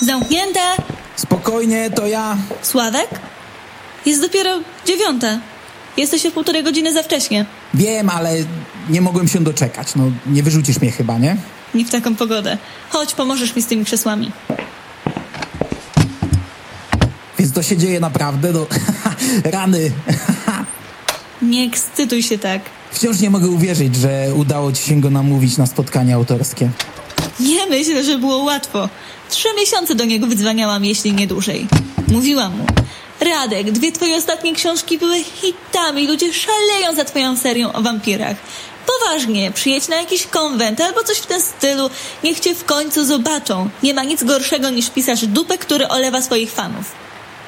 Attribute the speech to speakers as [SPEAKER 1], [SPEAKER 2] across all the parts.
[SPEAKER 1] Zamknięte!
[SPEAKER 2] Spokojnie, to ja.
[SPEAKER 1] Sławek? Jest dopiero dziewiąta. Jesteś o półtorej godziny za wcześnie.
[SPEAKER 2] Wiem, ale nie mogłem się doczekać. No, nie wyrzucisz mnie chyba, nie?
[SPEAKER 1] Nie w taką pogodę. Chodź, pomożesz mi z tymi krzesłami.
[SPEAKER 2] Więc to się dzieje naprawdę. No, rany.
[SPEAKER 1] Nie ekscytuj się tak.
[SPEAKER 2] Wciąż nie mogę uwierzyć, że udało ci się go namówić na spotkanie autorskie.
[SPEAKER 1] Nie myślę, że było łatwo. Trzy miesiące do niego wydzwaniałam, jeśli nie dłużej. Mówiłam mu. Radek, dwie twoje ostatnie książki były hitami. Ludzie szaleją za twoją serią o wampirach. Poważnie, przyjedź na jakiś konwent albo coś w tym stylu. Niech cię w końcu zobaczą. Nie ma nic gorszego niż pisarz dupę, który olewa swoich fanów.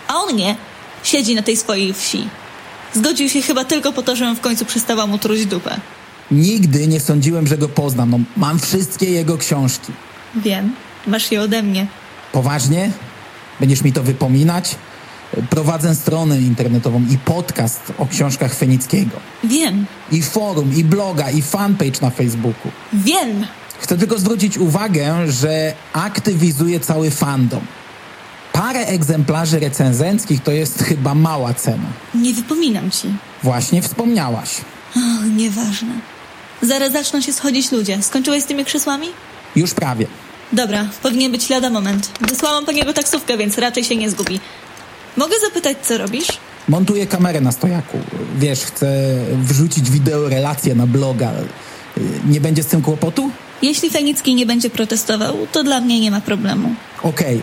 [SPEAKER 1] A on nie. Siedzi na tej swojej wsi. Zgodził się chyba tylko po to, żebym w końcu przestała mu truć dupę.
[SPEAKER 2] Nigdy nie sądziłem, że go poznam. No, mam wszystkie jego książki.
[SPEAKER 1] Wiem, masz je ode mnie.
[SPEAKER 2] Poważnie? Będziesz mi to wypominać? Prowadzę stronę internetową i podcast o książkach Fenickiego.
[SPEAKER 1] Wiem,
[SPEAKER 2] I forum, i bloga, i fanpage na Facebooku.
[SPEAKER 1] wiem.
[SPEAKER 2] Chcę tylko zwrócić uwagę, że aktywizuję cały fandom. Parę egzemplarzy recenzenckich to jest chyba mała cena.
[SPEAKER 1] Nie wypominam ci.
[SPEAKER 2] Właśnie wspomniałaś.
[SPEAKER 1] Och, nieważne. Zaraz zaczną się schodzić ludzie. Skończyłeś z tymi krzesłami?
[SPEAKER 2] Już prawie.
[SPEAKER 1] Dobra, powinien być lada moment. Wysłałam po niego taksówkę, więc raczej się nie zgubi. Mogę zapytać, co robisz?
[SPEAKER 2] Montuję kamerę na stojaku. Wiesz, chcę wrzucić wideo relację na bloga. Nie będzie z tym kłopotu?
[SPEAKER 1] Jeśli Fenicki nie będzie protestował, to dla mnie nie ma problemu.
[SPEAKER 2] Okej.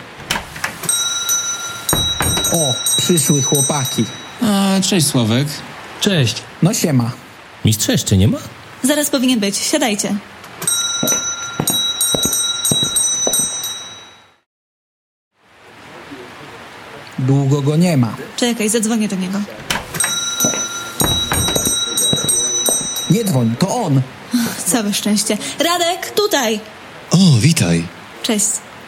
[SPEAKER 2] O, przyszły chłopaki.
[SPEAKER 3] A, cześć Sławek.
[SPEAKER 4] Cześć.
[SPEAKER 2] No siema.
[SPEAKER 4] Mistrza jeszcze nie ma?
[SPEAKER 1] Zaraz powinien być. Siadajcie.
[SPEAKER 2] Długo go nie ma.
[SPEAKER 1] Czekaj, zadzwonię do niego.
[SPEAKER 2] Nie dzwoń, to on.
[SPEAKER 1] Całe szczęście. Radek, tutaj!
[SPEAKER 5] O, witaj.
[SPEAKER 1] Cześć.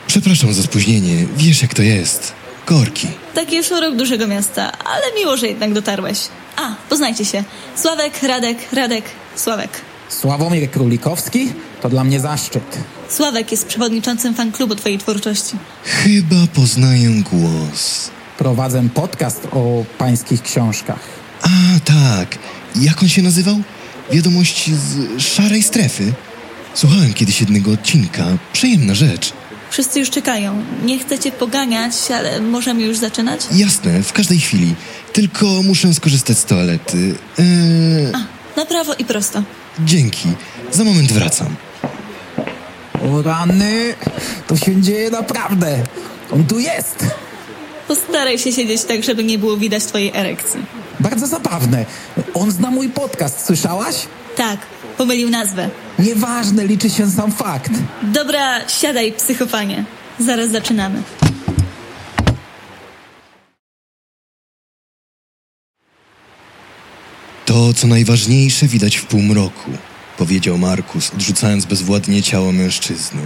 [SPEAKER 5] Przepraszam za spóźnienie. Wiesz jak to jest. Korki.
[SPEAKER 1] Taki szurok dużego miasta, ale miło, że jednak dotarłeś. A, poznajcie się. Sławek, Radek, Radek, Sławek.
[SPEAKER 2] Sławomir Królikowski? To dla mnie zaszczyt.
[SPEAKER 1] Sławek jest przewodniczącym fanklubu twojej twórczości.
[SPEAKER 5] Chyba poznaję głos.
[SPEAKER 2] Prowadzę podcast o pańskich książkach.
[SPEAKER 5] A, tak. Jak on się nazywał? Wiadomość z szarej strefy. Słuchałem kiedyś jednego odcinka. Przyjemna rzecz.
[SPEAKER 1] Wszyscy już czekają. Nie chcę cię poganiać, ale możemy już zaczynać?
[SPEAKER 5] Jasne, w każdej chwili. Tylko muszę skorzystać z toalety. Eee,
[SPEAKER 1] A, na prawo i prosto.
[SPEAKER 5] dzięki. Za moment wracam.
[SPEAKER 2] O rany, to się dzieje naprawdę. On tu jest.
[SPEAKER 1] Postaraj się siedzieć tak, żeby nie było widać twojej erekcji.
[SPEAKER 2] Bardzo zabawne. On zna mój podcast, słyszałaś?
[SPEAKER 1] Tak, pomylił nazwę.
[SPEAKER 2] Nieważne, liczy się sam fakt.
[SPEAKER 1] Dobra, siadaj, psychopanie. Zaraz zaczynamy.
[SPEAKER 5] To, co najważniejsze, widać w półmroku, powiedział Markus, odrzucając bezwładnie ciało mężczyzny.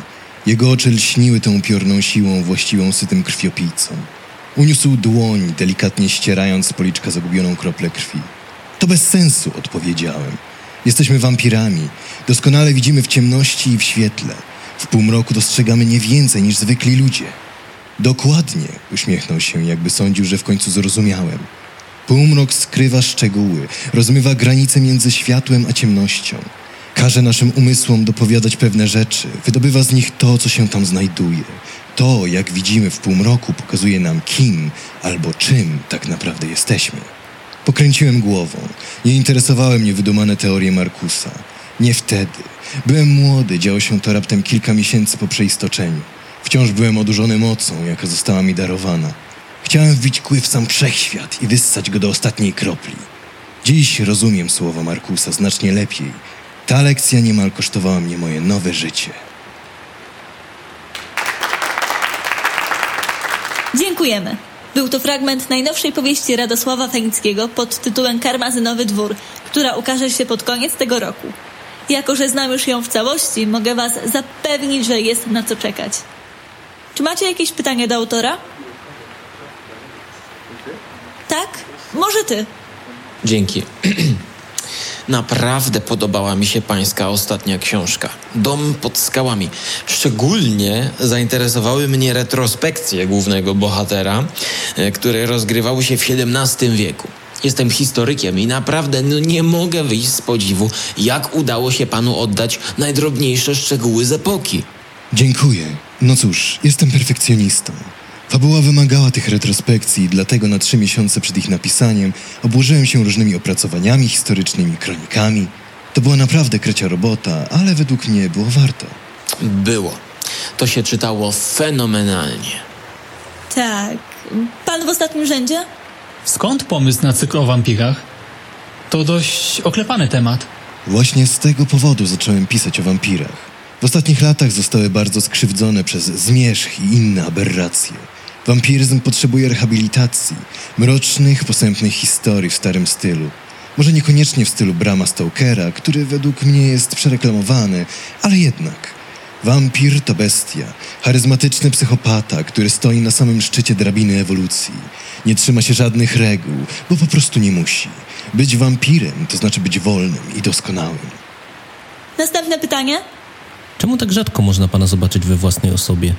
[SPEAKER 5] Jego oczy lśniły tą piorną siłą właściwą sytym krwiopijcom. Uniósł dłoń, delikatnie ścierając z policzka zagubioną kroplę krwi. To bez sensu, odpowiedziałem. Jesteśmy wampirami. Doskonale widzimy w ciemności i w świetle. W półmroku dostrzegamy nie więcej niż zwykli ludzie. Dokładnie, uśmiechnął się, jakby sądził, że w końcu zrozumiałem. Półmrok skrywa szczegóły, rozmywa granice między światłem a ciemnością. Każe naszym umysłom dopowiadać pewne rzeczy, wydobywa z nich to, co się tam znajduje. To, jak widzimy w półmroku, pokazuje nam kim albo czym tak naprawdę jesteśmy. Pokręciłem głową. Nie interesowały mnie wydumane teorie Markusa. Nie wtedy. Byłem młody, działo się to raptem kilka miesięcy po przeistoczeniu. Wciąż byłem odurzony mocą, jaka została mi darowana. Chciałem wbić kły w sam wszechświat i wyssać go do ostatniej kropli. Dziś rozumiem słowa Markusa znacznie lepiej. Ta lekcja niemal kosztowała mnie moje nowe życie.
[SPEAKER 1] Dziękujemy. Był to fragment najnowszej powieści Radosława Fenickiego pod tytułem Karmazynowy Dwór, która ukaże się pod koniec tego roku. Jako, że znam już ją w całości, mogę Was zapewnić, że jest na co czekać. Czy macie jakieś pytanie do autora? Tak? Może ty.
[SPEAKER 4] Dzięki. Naprawdę podobała mi się pańska ostatnia książka. Dom pod skałami. Szczególnie zainteresowały mnie retrospekcje głównego bohatera, e, które rozgrywały się w XVII wieku. Jestem historykiem i naprawdę no, nie mogę wyjść z podziwu, jak udało się panu oddać najdrobniejsze szczegóły z epoki.
[SPEAKER 5] Dziękuję. No cóż, jestem perfekcjonistą. Fabuła wymagała tych retrospekcji, dlatego na trzy miesiące przed ich napisaniem obłożyłem się różnymi opracowaniami historycznymi, kronikami. To była naprawdę krecia robota, ale według mnie było warto.
[SPEAKER 4] Było. To się czytało fenomenalnie.
[SPEAKER 1] Tak. Pan w ostatnim rzędzie?
[SPEAKER 6] Skąd pomysł na cykl o wampirach? To dość oklepany temat.
[SPEAKER 5] Właśnie z tego powodu zacząłem pisać o wampirach. W ostatnich latach zostały bardzo skrzywdzone przez zmierzch i inne aberracje. Wampiryzm potrzebuje rehabilitacji, mrocznych, posępnych historii w starym stylu. Może niekoniecznie w stylu Brama Stokera, który według mnie jest przereklamowany, ale jednak. Wampir to bestia, charyzmatyczny psychopata, który stoi na samym szczycie drabiny ewolucji. Nie trzyma się żadnych reguł, bo po prostu nie musi. Być wampirem to znaczy być wolnym i doskonałym.
[SPEAKER 1] Następne pytanie?
[SPEAKER 7] Czemu tak rzadko można pana zobaczyć we własnej osobie?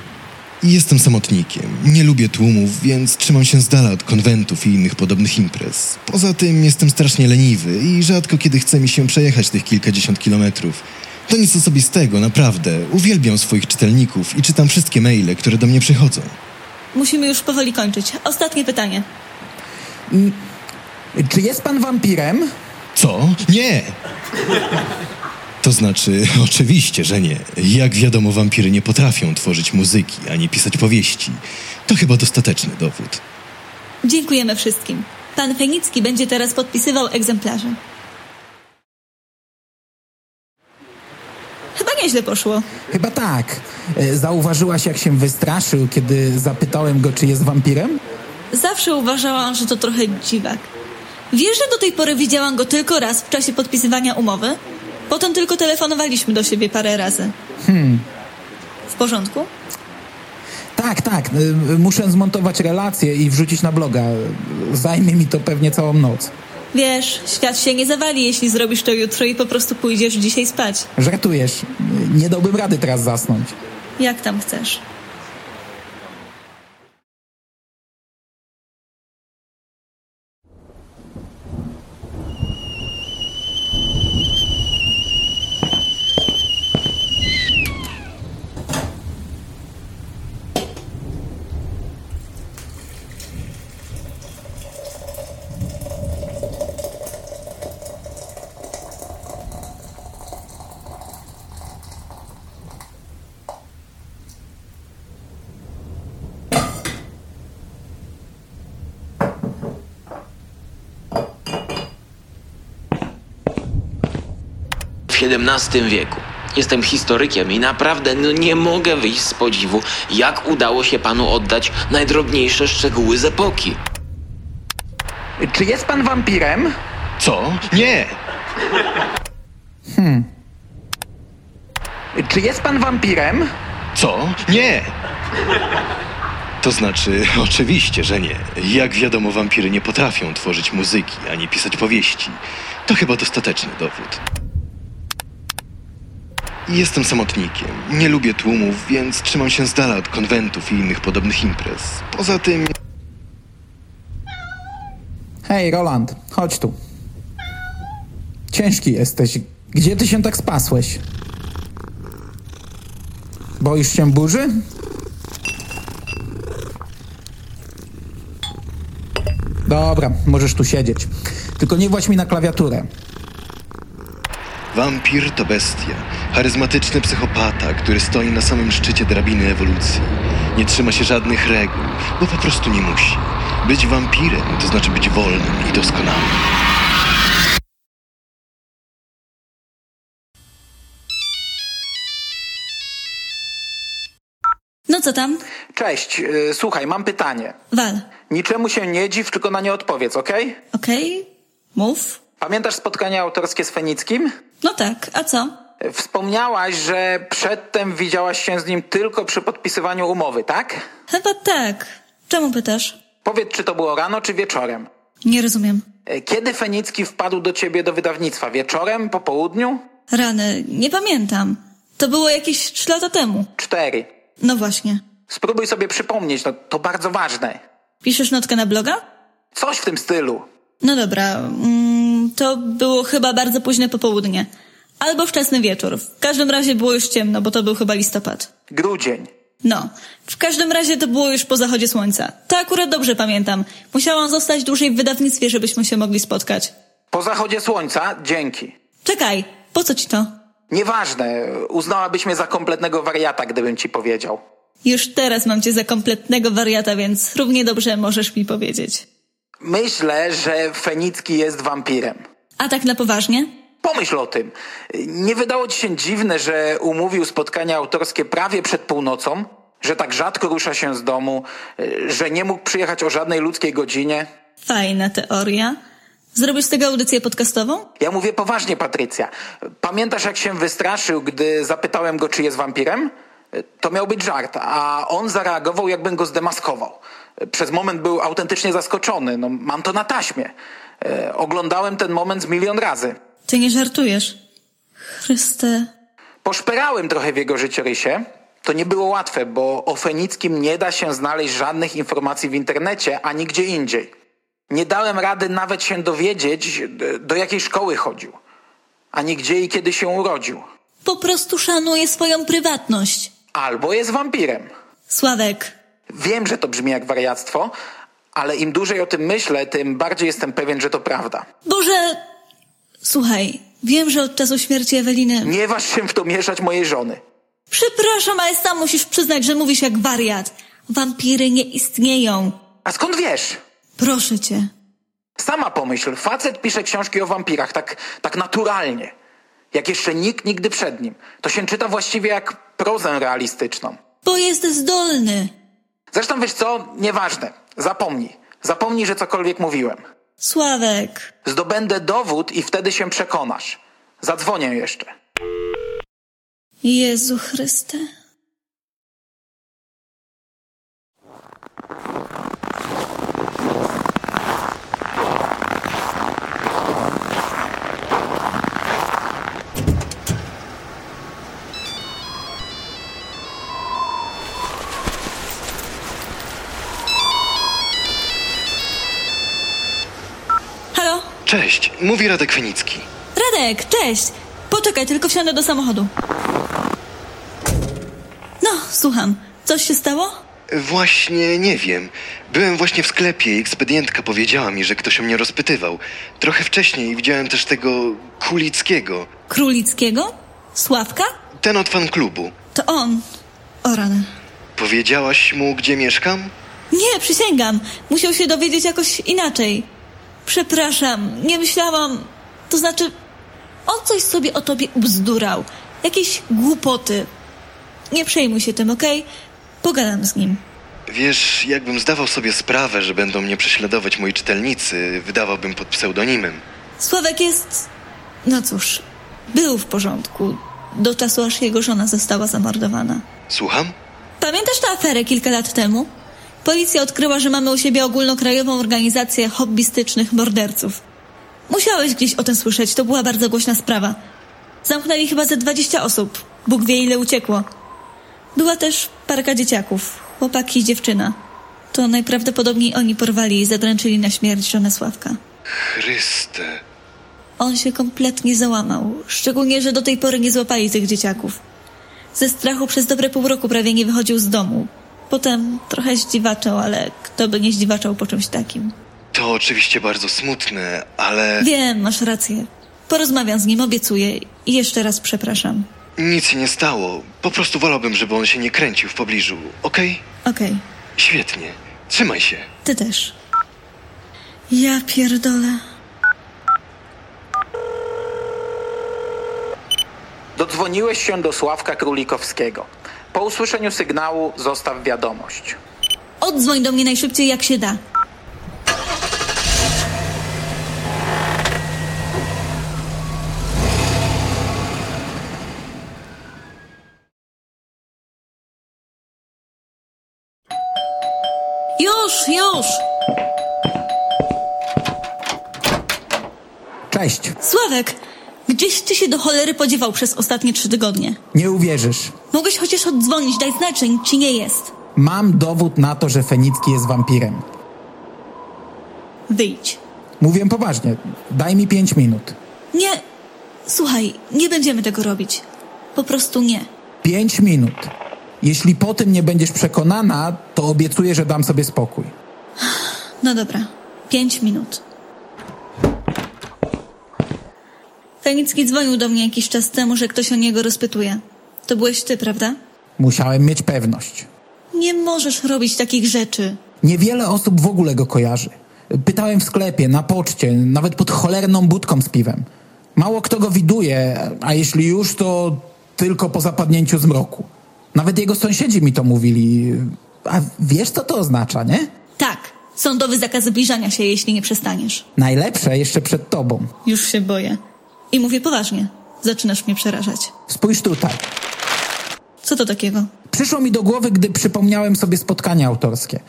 [SPEAKER 5] I Jestem samotnikiem, nie lubię tłumów, więc trzymam się z dala od konwentów i innych podobnych imprez. Poza tym jestem strasznie leniwy i rzadko kiedy chce mi się przejechać tych kilkadziesiąt kilometrów. To nic osobistego, naprawdę. Uwielbiam swoich czytelników i czytam wszystkie maile, które do mnie przychodzą.
[SPEAKER 1] Musimy już powoli kończyć. Ostatnie pytanie.
[SPEAKER 2] Czy jest pan wampirem?
[SPEAKER 5] Co? Nie! To znaczy, oczywiście, że nie. Jak wiadomo, wampiry nie potrafią tworzyć muzyki ani pisać powieści. To chyba dostateczny dowód.
[SPEAKER 1] Dziękujemy wszystkim. Pan Fenicki będzie teraz podpisywał egzemplarze. Chyba nieźle poszło.
[SPEAKER 2] Chyba tak. E, Zauważyłaś, jak się wystraszył, kiedy zapytałem go, czy jest wampirem?
[SPEAKER 1] Zawsze uważałam, że to trochę dziwak. Wiesz, że do tej pory widziałam go tylko raz w czasie podpisywania umowy? Potem tylko telefonowaliśmy do siebie parę razy. Hmm. W porządku?
[SPEAKER 2] Tak, tak. y, Muszę zmontować relację i wrzucić na bloga. Zajmie mi to pewnie całą noc.
[SPEAKER 1] Wiesz, świat się nie zawali, jeśli zrobisz to jutro i po prostu pójdziesz dzisiaj spać.
[SPEAKER 2] Żartujesz. Y, Nie dałbym rady teraz zasnąć.
[SPEAKER 1] Jak tam chcesz.
[SPEAKER 4] w XVII wieku. Jestem historykiem i naprawdę no, nie mogę wyjść z podziwu, jak udało się panu oddać najdrobniejsze szczegóły z epoki.
[SPEAKER 2] Czy jest pan wampirem?
[SPEAKER 5] Co? Nie!
[SPEAKER 2] Czy jest pan wampirem?
[SPEAKER 5] Co? Nie! To znaczy, oczywiście, że nie. Jak wiadomo, wampiry nie potrafią tworzyć muzyki ani pisać powieści. To chyba dostateczny dowód. I Jestem samotnikiem. Nie lubię tłumów, więc trzymam się z dala od konwentów i innych podobnych imprez. Poza tym
[SPEAKER 2] Hej, Roland, chodź tu. Ciężki jesteś. Gdzie ty się tak spasłeś? Boisz się burzy? Dobra, możesz tu siedzieć. Tylko nie właź mi na klawiaturę.
[SPEAKER 5] Wampir to bestia, charyzmatyczny psychopata, który stoi na samym szczycie drabiny ewolucji. Nie trzyma się żadnych reguł, bo po prostu nie musi. Być wampirem to znaczy być wolnym i doskonałym.
[SPEAKER 1] No co tam?
[SPEAKER 2] Cześć, y, słuchaj, mam pytanie.
[SPEAKER 1] Wal.
[SPEAKER 2] Niczemu się nie dziw, tylko na nie odpowiedz, okej?
[SPEAKER 1] Okej? Mów.
[SPEAKER 2] Pamiętasz spotkanie autorskie z Fenickim?
[SPEAKER 1] No tak, a co?
[SPEAKER 2] Y, Wspomniałaś, że przedtem widziałaś się z nim tylko przy podpisywaniu umowy, tak?
[SPEAKER 1] Chyba tak. Czemu pytasz?
[SPEAKER 2] Powiedz, czy to było rano, czy wieczorem. E,
[SPEAKER 1] Nie rozumiem.
[SPEAKER 2] Kiedy Fenicki wpadł do ciebie do wydawnictwa? Wieczorem? Po południu?
[SPEAKER 1] Rany, nie pamiętam. To było jakieś trzy lata temu.
[SPEAKER 2] Cztery.
[SPEAKER 1] No właśnie.
[SPEAKER 2] Spróbuj sobie przypomnieć, no to bardzo ważne.
[SPEAKER 1] Piszesz notkę na bloga?
[SPEAKER 2] Coś w tym stylu.
[SPEAKER 1] No dobra, mm, to było chyba bardzo późne popołudnie. Albo wczesny wieczór. W każdym razie było już ciemno, bo to był chyba listopad.
[SPEAKER 2] Grudzień.
[SPEAKER 1] No, w każdym razie to było już po zachodzie słońca. To akurat dobrze pamiętam. Musiałam zostać dłużej w wydawnictwie, żebyśmy się mogli spotkać.
[SPEAKER 2] Po zachodzie słońca? Dzięki.
[SPEAKER 1] Czekaj, po co ci to?
[SPEAKER 2] Nieważne, uznałabyś mnie za kompletnego wariata, gdybym ci powiedział.
[SPEAKER 1] Już teraz mam cię za kompletnego wariata, więc równie dobrze możesz mi powiedzieć.
[SPEAKER 2] Myślę, że Fenicki jest wampirem.
[SPEAKER 1] A tak na poważnie?
[SPEAKER 2] Pomyśl o tym. Nie wydało ci się dziwne, że umówił spotkania autorskie prawie przed północą? Że tak rzadko rusza się z domu? Że nie mógł przyjechać o żadnej ludzkiej godzinie?
[SPEAKER 1] Fajna teoria. Zrobisz z tego audycję podcastową?
[SPEAKER 2] Ja mówię poważnie, Patrycja. Pamiętasz, jak się wystraszył, gdy zapytałem go, czy jest wampirem? To miał być żart, a on zareagował, jakbym go zdemaskował. Przez moment był autentycznie zaskoczony. No, mam to na taśmie. E, Oglądałem ten moment z milion razy.
[SPEAKER 1] Ty nie żartujesz. Chryste.
[SPEAKER 2] Poszperałem trochę w jego życiorysie. To nie było łatwe, bo o Fenickim nie da się znaleźć żadnych informacji w internecie ani gdzie indziej. Nie dałem rady nawet się dowiedzieć, d- do jakiej szkoły chodził, ani gdzie i kiedy się urodził.
[SPEAKER 1] Po prostu szanuję swoją prywatność.
[SPEAKER 2] Albo jest wampirem.
[SPEAKER 1] Sławek,
[SPEAKER 2] Wiem, że to brzmi jak wariactwo, ale im dłużej o tym myślę, tym bardziej jestem pewien, że to prawda.
[SPEAKER 1] Boże... Słuchaj, wiem, że od czasu śmierci Eweliny...
[SPEAKER 2] Nie waż się w to mieszać mojej żony.
[SPEAKER 1] Przepraszam, ale sam musisz przyznać, że mówisz jak wariat. Wampiry nie istnieją.
[SPEAKER 2] A skąd wiesz?
[SPEAKER 1] Proszę cię.
[SPEAKER 2] Sama pomyśl, facet pisze książki o wampirach tak, tak naturalnie, jak jeszcze nikt nigdy przed nim. To się czyta właściwie jak prozę realistyczną.
[SPEAKER 1] Bo jest zdolny.
[SPEAKER 2] Zresztą wiesz co, nieważne, zapomnij. Zapomnij, że cokolwiek mówiłem.
[SPEAKER 1] Sławek.
[SPEAKER 2] Zdobędę dowód i wtedy się przekonasz. Zadzwonię jeszcze.
[SPEAKER 1] Jezu Chryste. Halo?
[SPEAKER 5] Cześć, mówi Radek Fenicki.
[SPEAKER 1] Radek, cześć! Poczekaj, tylko wsiądę do samochodu. No, słucham. Coś się stało?
[SPEAKER 5] Właśnie nie wiem. Byłem właśnie w sklepie i ekspedientka powiedziała mi, że ktoś o mnie rozpytywał. Trochę wcześniej widziałem też tego Kulickiego,
[SPEAKER 1] Królickiego? Sławka?
[SPEAKER 5] ten od fan klubu.
[SPEAKER 1] To on. O rany.
[SPEAKER 5] Powiedziałaś mu, gdzie mieszkam?
[SPEAKER 1] Nie, przysięgam. Musiał się dowiedzieć jakoś inaczej. Przepraszam, nie myślałam. To znaczy, on coś sobie o tobie ubzdurał. Jakieś głupoty. Nie przejmuj się tym, okej? Pogadam z nim.
[SPEAKER 5] Wiesz, jakbym zdawał sobie sprawę, że będą mnie prześladować moi czytelnicy, wydawałbym pod pseudonimem.
[SPEAKER 1] Sławek jest. No cóż, był w porządku do czasu, aż jego żona została zamordowana.
[SPEAKER 5] Słucham?
[SPEAKER 1] Pamiętasz tę aferę kilka lat temu? Policja odkryła, że mamy u siebie ogólnokrajową organizację hobbystycznych morderców. Musiałeś gdzieś o tym słyszeć, to była bardzo głośna sprawa. Zamknęli chyba ze 20 osób. Bóg wie, ile uciekło. Była też parka dzieciaków, chłopak i dziewczyna. To najprawdopodobniej oni porwali i zadręczyli na śmierć żonę Sławka.
[SPEAKER 5] Chryste.
[SPEAKER 1] On się kompletnie załamał, szczególnie, że do tej pory nie złapali tych dzieciaków. Ze strachu przez dobre pół roku prawie nie wychodził z domu. Potem trochę zdziwaczał, ale kto by nie zdziwaczał po czymś takim.
[SPEAKER 5] To oczywiście bardzo smutne, ale
[SPEAKER 1] Wiem, masz rację. Porozmawiam z nim, obiecuję i jeszcze raz przepraszam.
[SPEAKER 5] nic się nie stało. Po prostu wolałbym, żeby on się nie kręcił w pobliżu, okej?
[SPEAKER 1] Okej,
[SPEAKER 5] Świetnie. Trzymaj się.
[SPEAKER 1] ty też. Ja pierdolę.
[SPEAKER 2] Dodzwoniłeś się do Sławka Królikowskiego. Po usłyszeniu sygnału zostaw wiadomość.
[SPEAKER 1] Odzwoń do mnie najszybciej jak się da. Już, już!
[SPEAKER 2] Cześć.
[SPEAKER 1] Sławek, gdzieś ty się do cholery podziewał przez ostatnie trzy tygodnie.
[SPEAKER 2] Nie uwierzysz.
[SPEAKER 1] Mogłeś chociaż oddzwonić, daj znać, że nic ci nie jest.
[SPEAKER 2] Mam dowód na to, że Fenicki jest wampirem.
[SPEAKER 1] Wyjdź.
[SPEAKER 2] Mówię poważnie. Daj mi pięć minut.
[SPEAKER 1] Nie, słuchaj, nie będziemy tego robić. Po prostu nie.
[SPEAKER 2] Pięć minut. Jeśli po tym nie będziesz przekonana, to obiecuję, że dam sobie spokój.
[SPEAKER 1] No dobra, pięć minut. Fenicki dzwonił do mnie jakiś czas temu, że ktoś o niego rozpytuje. To byłeś ty, prawda?
[SPEAKER 2] Musiałem mieć pewność.
[SPEAKER 1] Nie możesz robić takich rzeczy.
[SPEAKER 2] Niewiele osób w ogóle go kojarzy. Pytałem w sklepie, na poczcie, nawet pod cholerną budką z piwem. Mało kto go widuje, a jeśli już, to tylko po zapadnięciu zmroku. Nawet jego sąsiedzi mi to mówili. A wiesz, co to oznacza, nie?
[SPEAKER 1] Tak, sądowy zakaz zbliżania się, jeśli nie przestaniesz.
[SPEAKER 2] Najlepsze jeszcze przed tobą.
[SPEAKER 1] Już się boję. I mówię poważnie. Zaczynasz mnie przerażać.
[SPEAKER 2] Spójrz tutaj.
[SPEAKER 1] Co to takiego?
[SPEAKER 2] Przyszło mi do głowy, gdy przypomniałem sobie spotkania autorskie.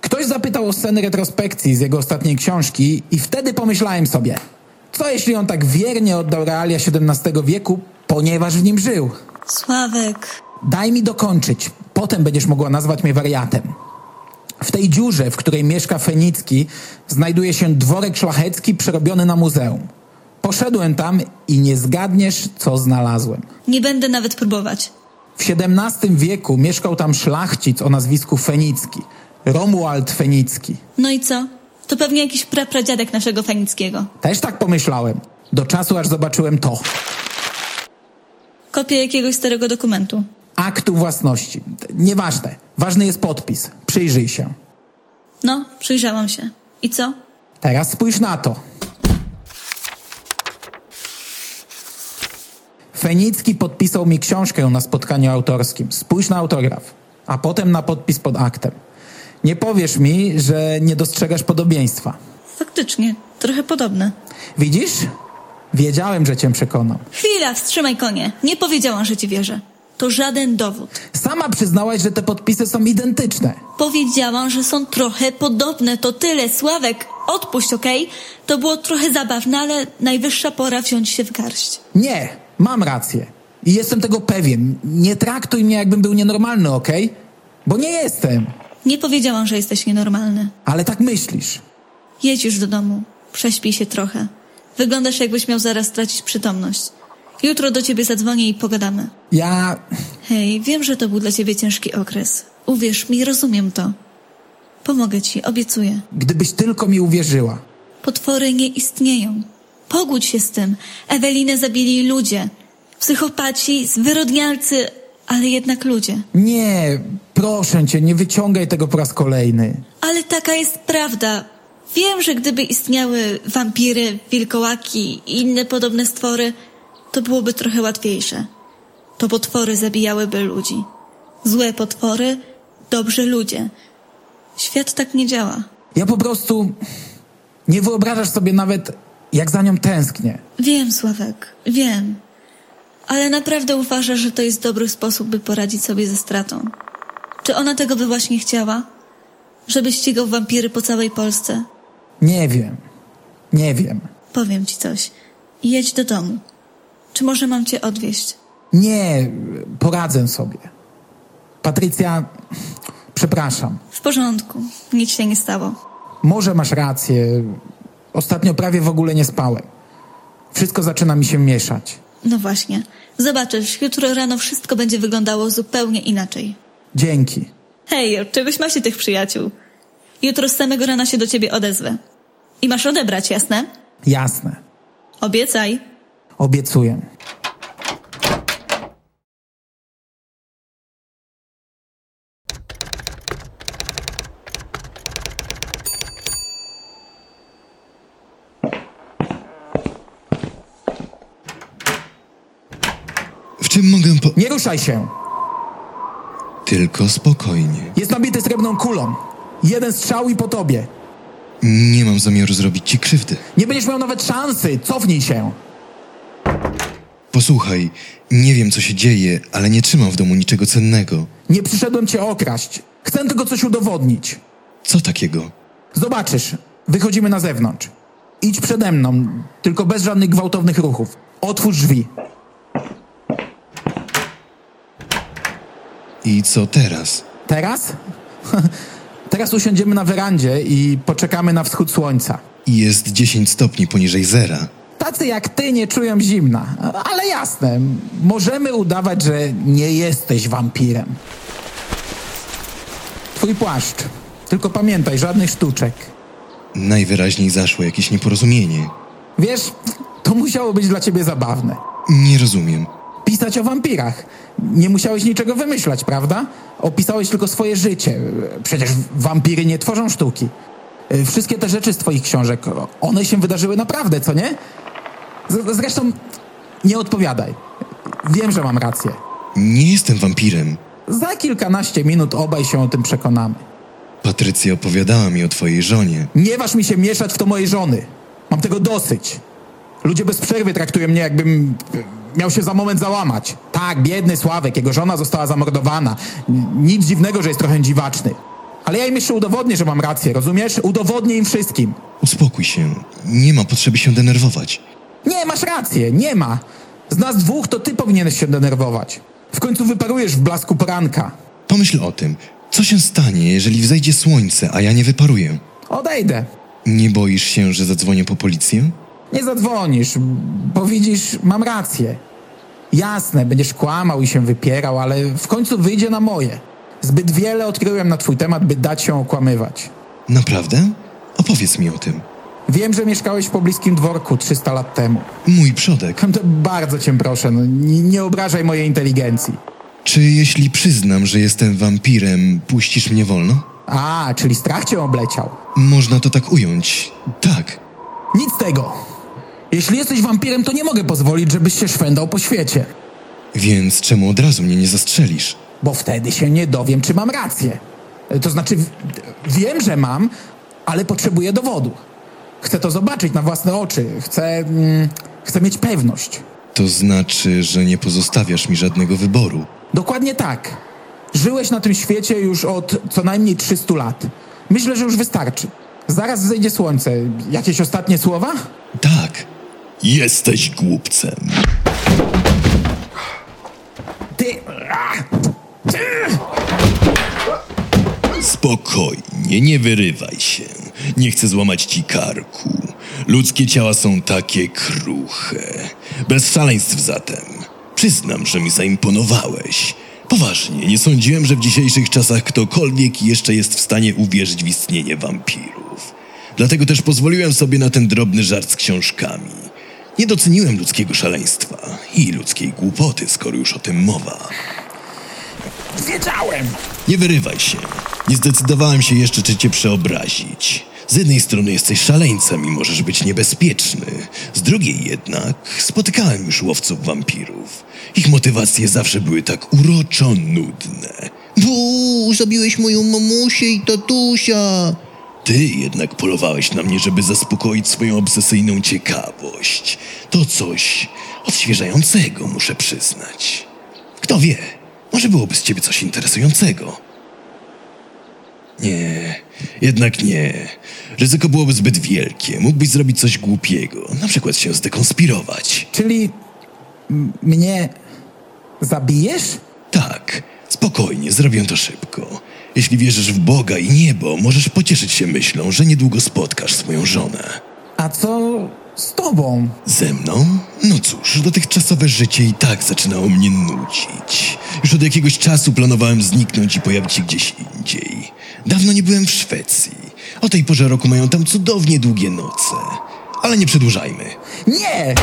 [SPEAKER 2] Ktoś zapytał o sceny retrospekcji z jego ostatniej książki i wtedy pomyślałem sobie, co jeśli on tak wiernie oddał realia XVII wieku, ponieważ w nim żył?
[SPEAKER 1] Sławek.
[SPEAKER 2] Daj mi dokończyć, potem będziesz mogła nazwać mnie wariatem. W tej dziurze, w której mieszka Fenicki, znajduje się dworek szlachecki przerobiony na muzeum. Poszedłem tam i nie zgadniesz, co znalazłem.
[SPEAKER 1] Nie będę nawet próbować.
[SPEAKER 2] W XVII wieku mieszkał tam szlachcic o nazwisku Fenicki, Romuald Fenicki.
[SPEAKER 1] No i co? To pewnie jakiś prapradziadek naszego Fenickiego.
[SPEAKER 2] Też tak pomyślałem, do czasu aż zobaczyłem to.
[SPEAKER 1] Kopię jakiegoś starego dokumentu.
[SPEAKER 2] Aktu własności. Nieważne, ważny jest podpis. Przyjrzyj się.
[SPEAKER 1] No, przyjrzałam się. I co?
[SPEAKER 2] Teraz spójrz na to. Fenicki podpisał mi książkę na spotkaniu autorskim. Spójrz na autograf, a potem na podpis pod aktem. Nie powiesz mi, że nie dostrzegasz podobieństwa.
[SPEAKER 1] Faktycznie, trochę podobne.
[SPEAKER 2] Widzisz? Wiedziałem, że cię przekonam.
[SPEAKER 1] Chwila, wstrzymaj konie. Nie powiedziałam, że ci wierzę. To żaden dowód.
[SPEAKER 2] Sama przyznałaś, że te podpisy są identyczne.
[SPEAKER 1] Powiedziałam, że są trochę podobne, to tyle. Sławek, odpuść, okej? To było trochę zabawne, ale najwyższa pora wziąć się w garść.
[SPEAKER 2] Nie, mam rację. I jestem tego pewien. Nie traktuj mnie, jakbym był nienormalny, okej? Bo nie jestem.
[SPEAKER 1] Nie powiedziałam, że jesteś nienormalny.
[SPEAKER 2] Ale tak myślisz.
[SPEAKER 1] Jedź już do domu. Prześpij się trochę. Wyglądasz, jakbyś miał zaraz stracić przytomność. Jutro do ciebie zadzwonię i pogadamy.
[SPEAKER 2] Ja.
[SPEAKER 1] Hej, wiem, że to był dla ciebie ciężki okres. Uwierz mi, rozumiem to. Pomogę ci, obiecuję.
[SPEAKER 2] Gdybyś tylko mi uwierzyła.
[SPEAKER 1] Potwory nie istnieją. Pogódź się z tym. Ewelinę zabili ludzie. Psychopaci, zwyrodnialcy, ale jednak ludzie.
[SPEAKER 2] Nie, proszę cię, nie wyciągaj tego po raz kolejny.
[SPEAKER 1] Ale taka jest prawda. Wiem, że gdyby istniały wampiry, wilkołaki i inne podobne stwory, to byłoby trochę łatwiejsze. To potwory zabijałyby ludzi. Złe potwory, dobrzy ludzie. Świat tak nie działa.
[SPEAKER 2] Ja po prostu. Nie wyobrażasz sobie nawet, jak za nią tęsknię.
[SPEAKER 1] Wiem, Sławek, wiem. Ale naprawdę uważasz, że to jest dobry sposób, by poradzić sobie ze stratą. Czy ona tego by właśnie chciała? Żeby ścigał wampiry po całej Polsce?
[SPEAKER 2] Nie wiem. Nie wiem.
[SPEAKER 1] Powiem ci coś. Jedź do domu. Czy może mam cię odwieźć?
[SPEAKER 2] Nie, poradzę sobie. Patrycja, przepraszam.
[SPEAKER 1] W porządku, nic się nie stało.
[SPEAKER 2] Może masz rację. Ostatnio prawie w ogóle nie spałem. Wszystko zaczyna mi się mieszać.
[SPEAKER 1] No właśnie. Zobaczysz, jutro rano wszystko będzie wyglądało zupełnie inaczej.
[SPEAKER 2] Dzięki.
[SPEAKER 1] Hej, od czegoś ma się tych przyjaciół. Jutro z samego rana się do ciebie odezwę. I masz odebrać, jasne?
[SPEAKER 2] Jasne.
[SPEAKER 1] Obiecaj.
[SPEAKER 2] Obiecuję.
[SPEAKER 5] W czym mogę po...
[SPEAKER 2] Nie ruszaj się.
[SPEAKER 5] Tylko spokojnie.
[SPEAKER 2] Jest nabity srebrną kulą. Jeden strzał i po tobie.
[SPEAKER 5] Nie mam zamiaru zrobić ci krzywdy.
[SPEAKER 2] Nie będziesz miał nawet szansy. Cofnij się.
[SPEAKER 5] Posłuchaj, nie wiem co się dzieje, ale nie trzymam w domu niczego cennego.
[SPEAKER 2] Nie przyszedłem cię okraść. Chcę tylko coś udowodnić.
[SPEAKER 5] Co takiego?
[SPEAKER 2] Zobaczysz. Wychodzimy na zewnątrz. Idź przede mną, tylko bez żadnych gwałtownych ruchów. Otwórz drzwi.
[SPEAKER 5] I co teraz?
[SPEAKER 2] Teraz? Teraz usiądziemy na werandzie i poczekamy na wschód słońca.
[SPEAKER 5] I Jest 10 stopni poniżej zera.
[SPEAKER 2] Tacy jak ty nie czują zimna, ale jasne, możemy udawać, że nie jesteś wampirem. Twój płaszcz. Tylko pamiętaj, żadnych sztuczek.
[SPEAKER 5] Najwyraźniej zaszło jakieś nieporozumienie.
[SPEAKER 2] Wiesz, to musiało być dla ciebie zabawne.
[SPEAKER 5] Nie rozumiem.
[SPEAKER 2] Pisać o wampirach. Nie musiałeś niczego wymyślać, prawda? Opisałeś tylko swoje życie. Przecież wampiry nie tworzą sztuki. Y, Wszystkie te rzeczy z twoich książek, one się wydarzyły naprawdę, co nie? Z- Zresztą nie odpowiadaj. Wiem, że mam rację.
[SPEAKER 5] Nie jestem wampirem.
[SPEAKER 2] Za kilkanaście minut obaj się o tym przekonamy.
[SPEAKER 5] Patrycja opowiadała mi o twojej żonie.
[SPEAKER 2] Nie waż mi się mieszać w to mojej żony. Mam tego dosyć. Ludzie bez przerwy traktują mnie, jakbym miał się za moment załamać. Tak, biedny Sławek, jego żona została zamordowana. N- Nic dziwnego, że jest trochę dziwaczny. Ale ja im jeszcze udowodnię, że mam rację, rozumiesz? Udowodnię im wszystkim.
[SPEAKER 5] Uspokój się. Nie ma potrzeby się denerwować.
[SPEAKER 2] Nie, masz rację, nie ma. Z nas dwóch to ty powinieneś się denerwować. W końcu wyparujesz w blasku poranka.
[SPEAKER 5] Pomyśl o tym. Co się stanie, jeżeli wzejdzie słońce, a ja nie wyparuję?
[SPEAKER 2] Odejdę.
[SPEAKER 5] Nie boisz się, że zadzwonię po policję?
[SPEAKER 2] Nie zadzwonisz, bo widzisz, mam rację. Jasne, będziesz kłamał i się wypierał, ale w końcu wyjdzie na moje. Zbyt wiele odkryłem na twój temat, by dać się okłamywać.
[SPEAKER 5] Naprawdę? Opowiedz mi o tym.
[SPEAKER 2] Wiem, że mieszkałeś w pobliskim dworku 300 lat temu.
[SPEAKER 5] Mój przodek.
[SPEAKER 2] To bardzo cię proszę, no, nie, nie obrażaj mojej inteligencji.
[SPEAKER 5] Czy jeśli przyznam, że jestem wampirem, puścisz mnie wolno?
[SPEAKER 2] A, czyli strach cię obleciał.
[SPEAKER 5] Można to tak ująć. Tak.
[SPEAKER 2] Nic z tego. Jeśli jesteś wampirem, to nie mogę pozwolić, żebyś się szwendał po świecie.
[SPEAKER 5] Więc czemu od razu mnie nie zastrzelisz?
[SPEAKER 2] bo wtedy się nie dowiem, czy mam rację. To znaczy, w- wiem, że mam, ale potrzebuję dowodu. Chcę to zobaczyć na własne oczy. Chcę, mm, chcę mieć pewność.
[SPEAKER 5] To znaczy, że nie pozostawiasz mi żadnego wyboru.
[SPEAKER 2] Dokładnie tak. Żyłeś na tym świecie już od co najmniej 300 lat. Myślę, że już wystarczy. Zaraz zejdzie słońce. Jakieś ostatnie słowa?
[SPEAKER 5] Tak. Jesteś głupcem.
[SPEAKER 2] Ty.
[SPEAKER 5] Spokojnie, nie wyrywaj się. Nie chcę złamać ci karku. Ludzkie ciała są takie kruche. Bez szaleństw zatem. Przyznam, że mi zaimponowałeś. Poważnie, nie sądziłem, że w dzisiejszych czasach ktokolwiek jeszcze jest w stanie uwierzyć w istnienie wampirów. Dlatego też pozwoliłem sobie na ten drobny żart z książkami. Nie doceniłem ludzkiego szaleństwa i ludzkiej głupoty, skoro już o tym mowa.
[SPEAKER 2] Wiedziałem!
[SPEAKER 5] Nie wyrywaj się. Nie zdecydowałem się jeszcze, czy cię przeobrazić. Z jednej strony jesteś szaleńcem i możesz być niebezpieczny. Z drugiej jednak spotykałem już łowców wampirów. Ich motywacje zawsze były tak uroczo nudne. Buu, zabiłeś moją mamusię i tatusia. Ty jednak polowałeś na mnie, żeby zaspokoić swoją obsesyjną ciekawość. To coś odświeżającego, muszę przyznać. Kto wie, może byłoby z ciebie coś interesującego. Nie, jednak nie. Ryzyko byłoby zbyt wielkie. Mógłbyś zrobić coś głupiego, na przykład się zdekonspirować.
[SPEAKER 2] Czyli. m- mnie. zabijesz?
[SPEAKER 5] Tak, spokojnie, zrobię to szybko. Jeśli wierzysz w Boga i niebo, możesz pocieszyć się myślą, że niedługo spotkasz swoją żonę.
[SPEAKER 2] A co z tobą?
[SPEAKER 5] Ze mną? No cóż, dotychczasowe życie i tak zaczynało mnie nudzić. Już od jakiegoś czasu planowałem zniknąć i pojawić się gdzieś indziej. Dawno nie byłem w Szwecji. O tej porze roku mają tam cudownie długie noce. Ale nie przedłużajmy.
[SPEAKER 2] Nie!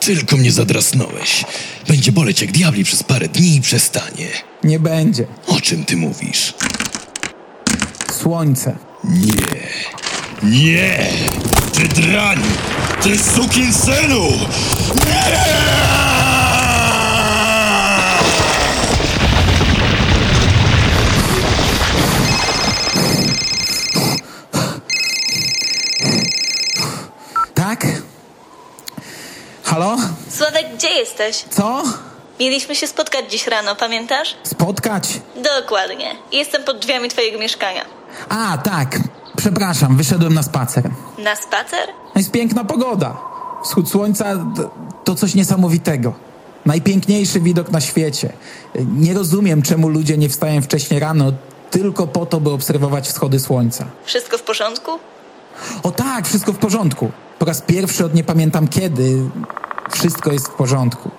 [SPEAKER 5] Tylko mnie zadrasnąłeś. Będzie boleć jak diabli przez parę dni i przestanie.
[SPEAKER 2] Nie będzie.
[SPEAKER 5] O czym ty mówisz?
[SPEAKER 2] Słońce.
[SPEAKER 5] Nie. Nie! Ty drań! Ty sukinsynu! Nie!
[SPEAKER 2] Tak? Halo? Tak?
[SPEAKER 1] Sławek, gdzie jesteś?
[SPEAKER 2] Co?
[SPEAKER 1] Mieliśmy się spotkać dziś rano, pamiętasz?
[SPEAKER 2] Spotkać?
[SPEAKER 1] Dokładnie. Jestem pod drzwiami twojego mieszkania.
[SPEAKER 2] A, tak. Przepraszam, wyszedłem na spacer.
[SPEAKER 1] Na spacer?
[SPEAKER 2] Jest piękna pogoda. Wschód słońca d- to coś niesamowitego. Najpiękniejszy widok na świecie. Nie rozumiem, czemu ludzie nie wstają wcześniej rano tylko po to, by obserwować wschody słońca.
[SPEAKER 1] Wszystko w porządku?
[SPEAKER 2] O tak, wszystko w porządku. Po raz pierwszy od nie pamiętam kiedy wszystko jest w porządku.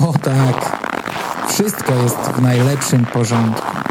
[SPEAKER 2] O tak, wszystko jest w najlepszym porządku.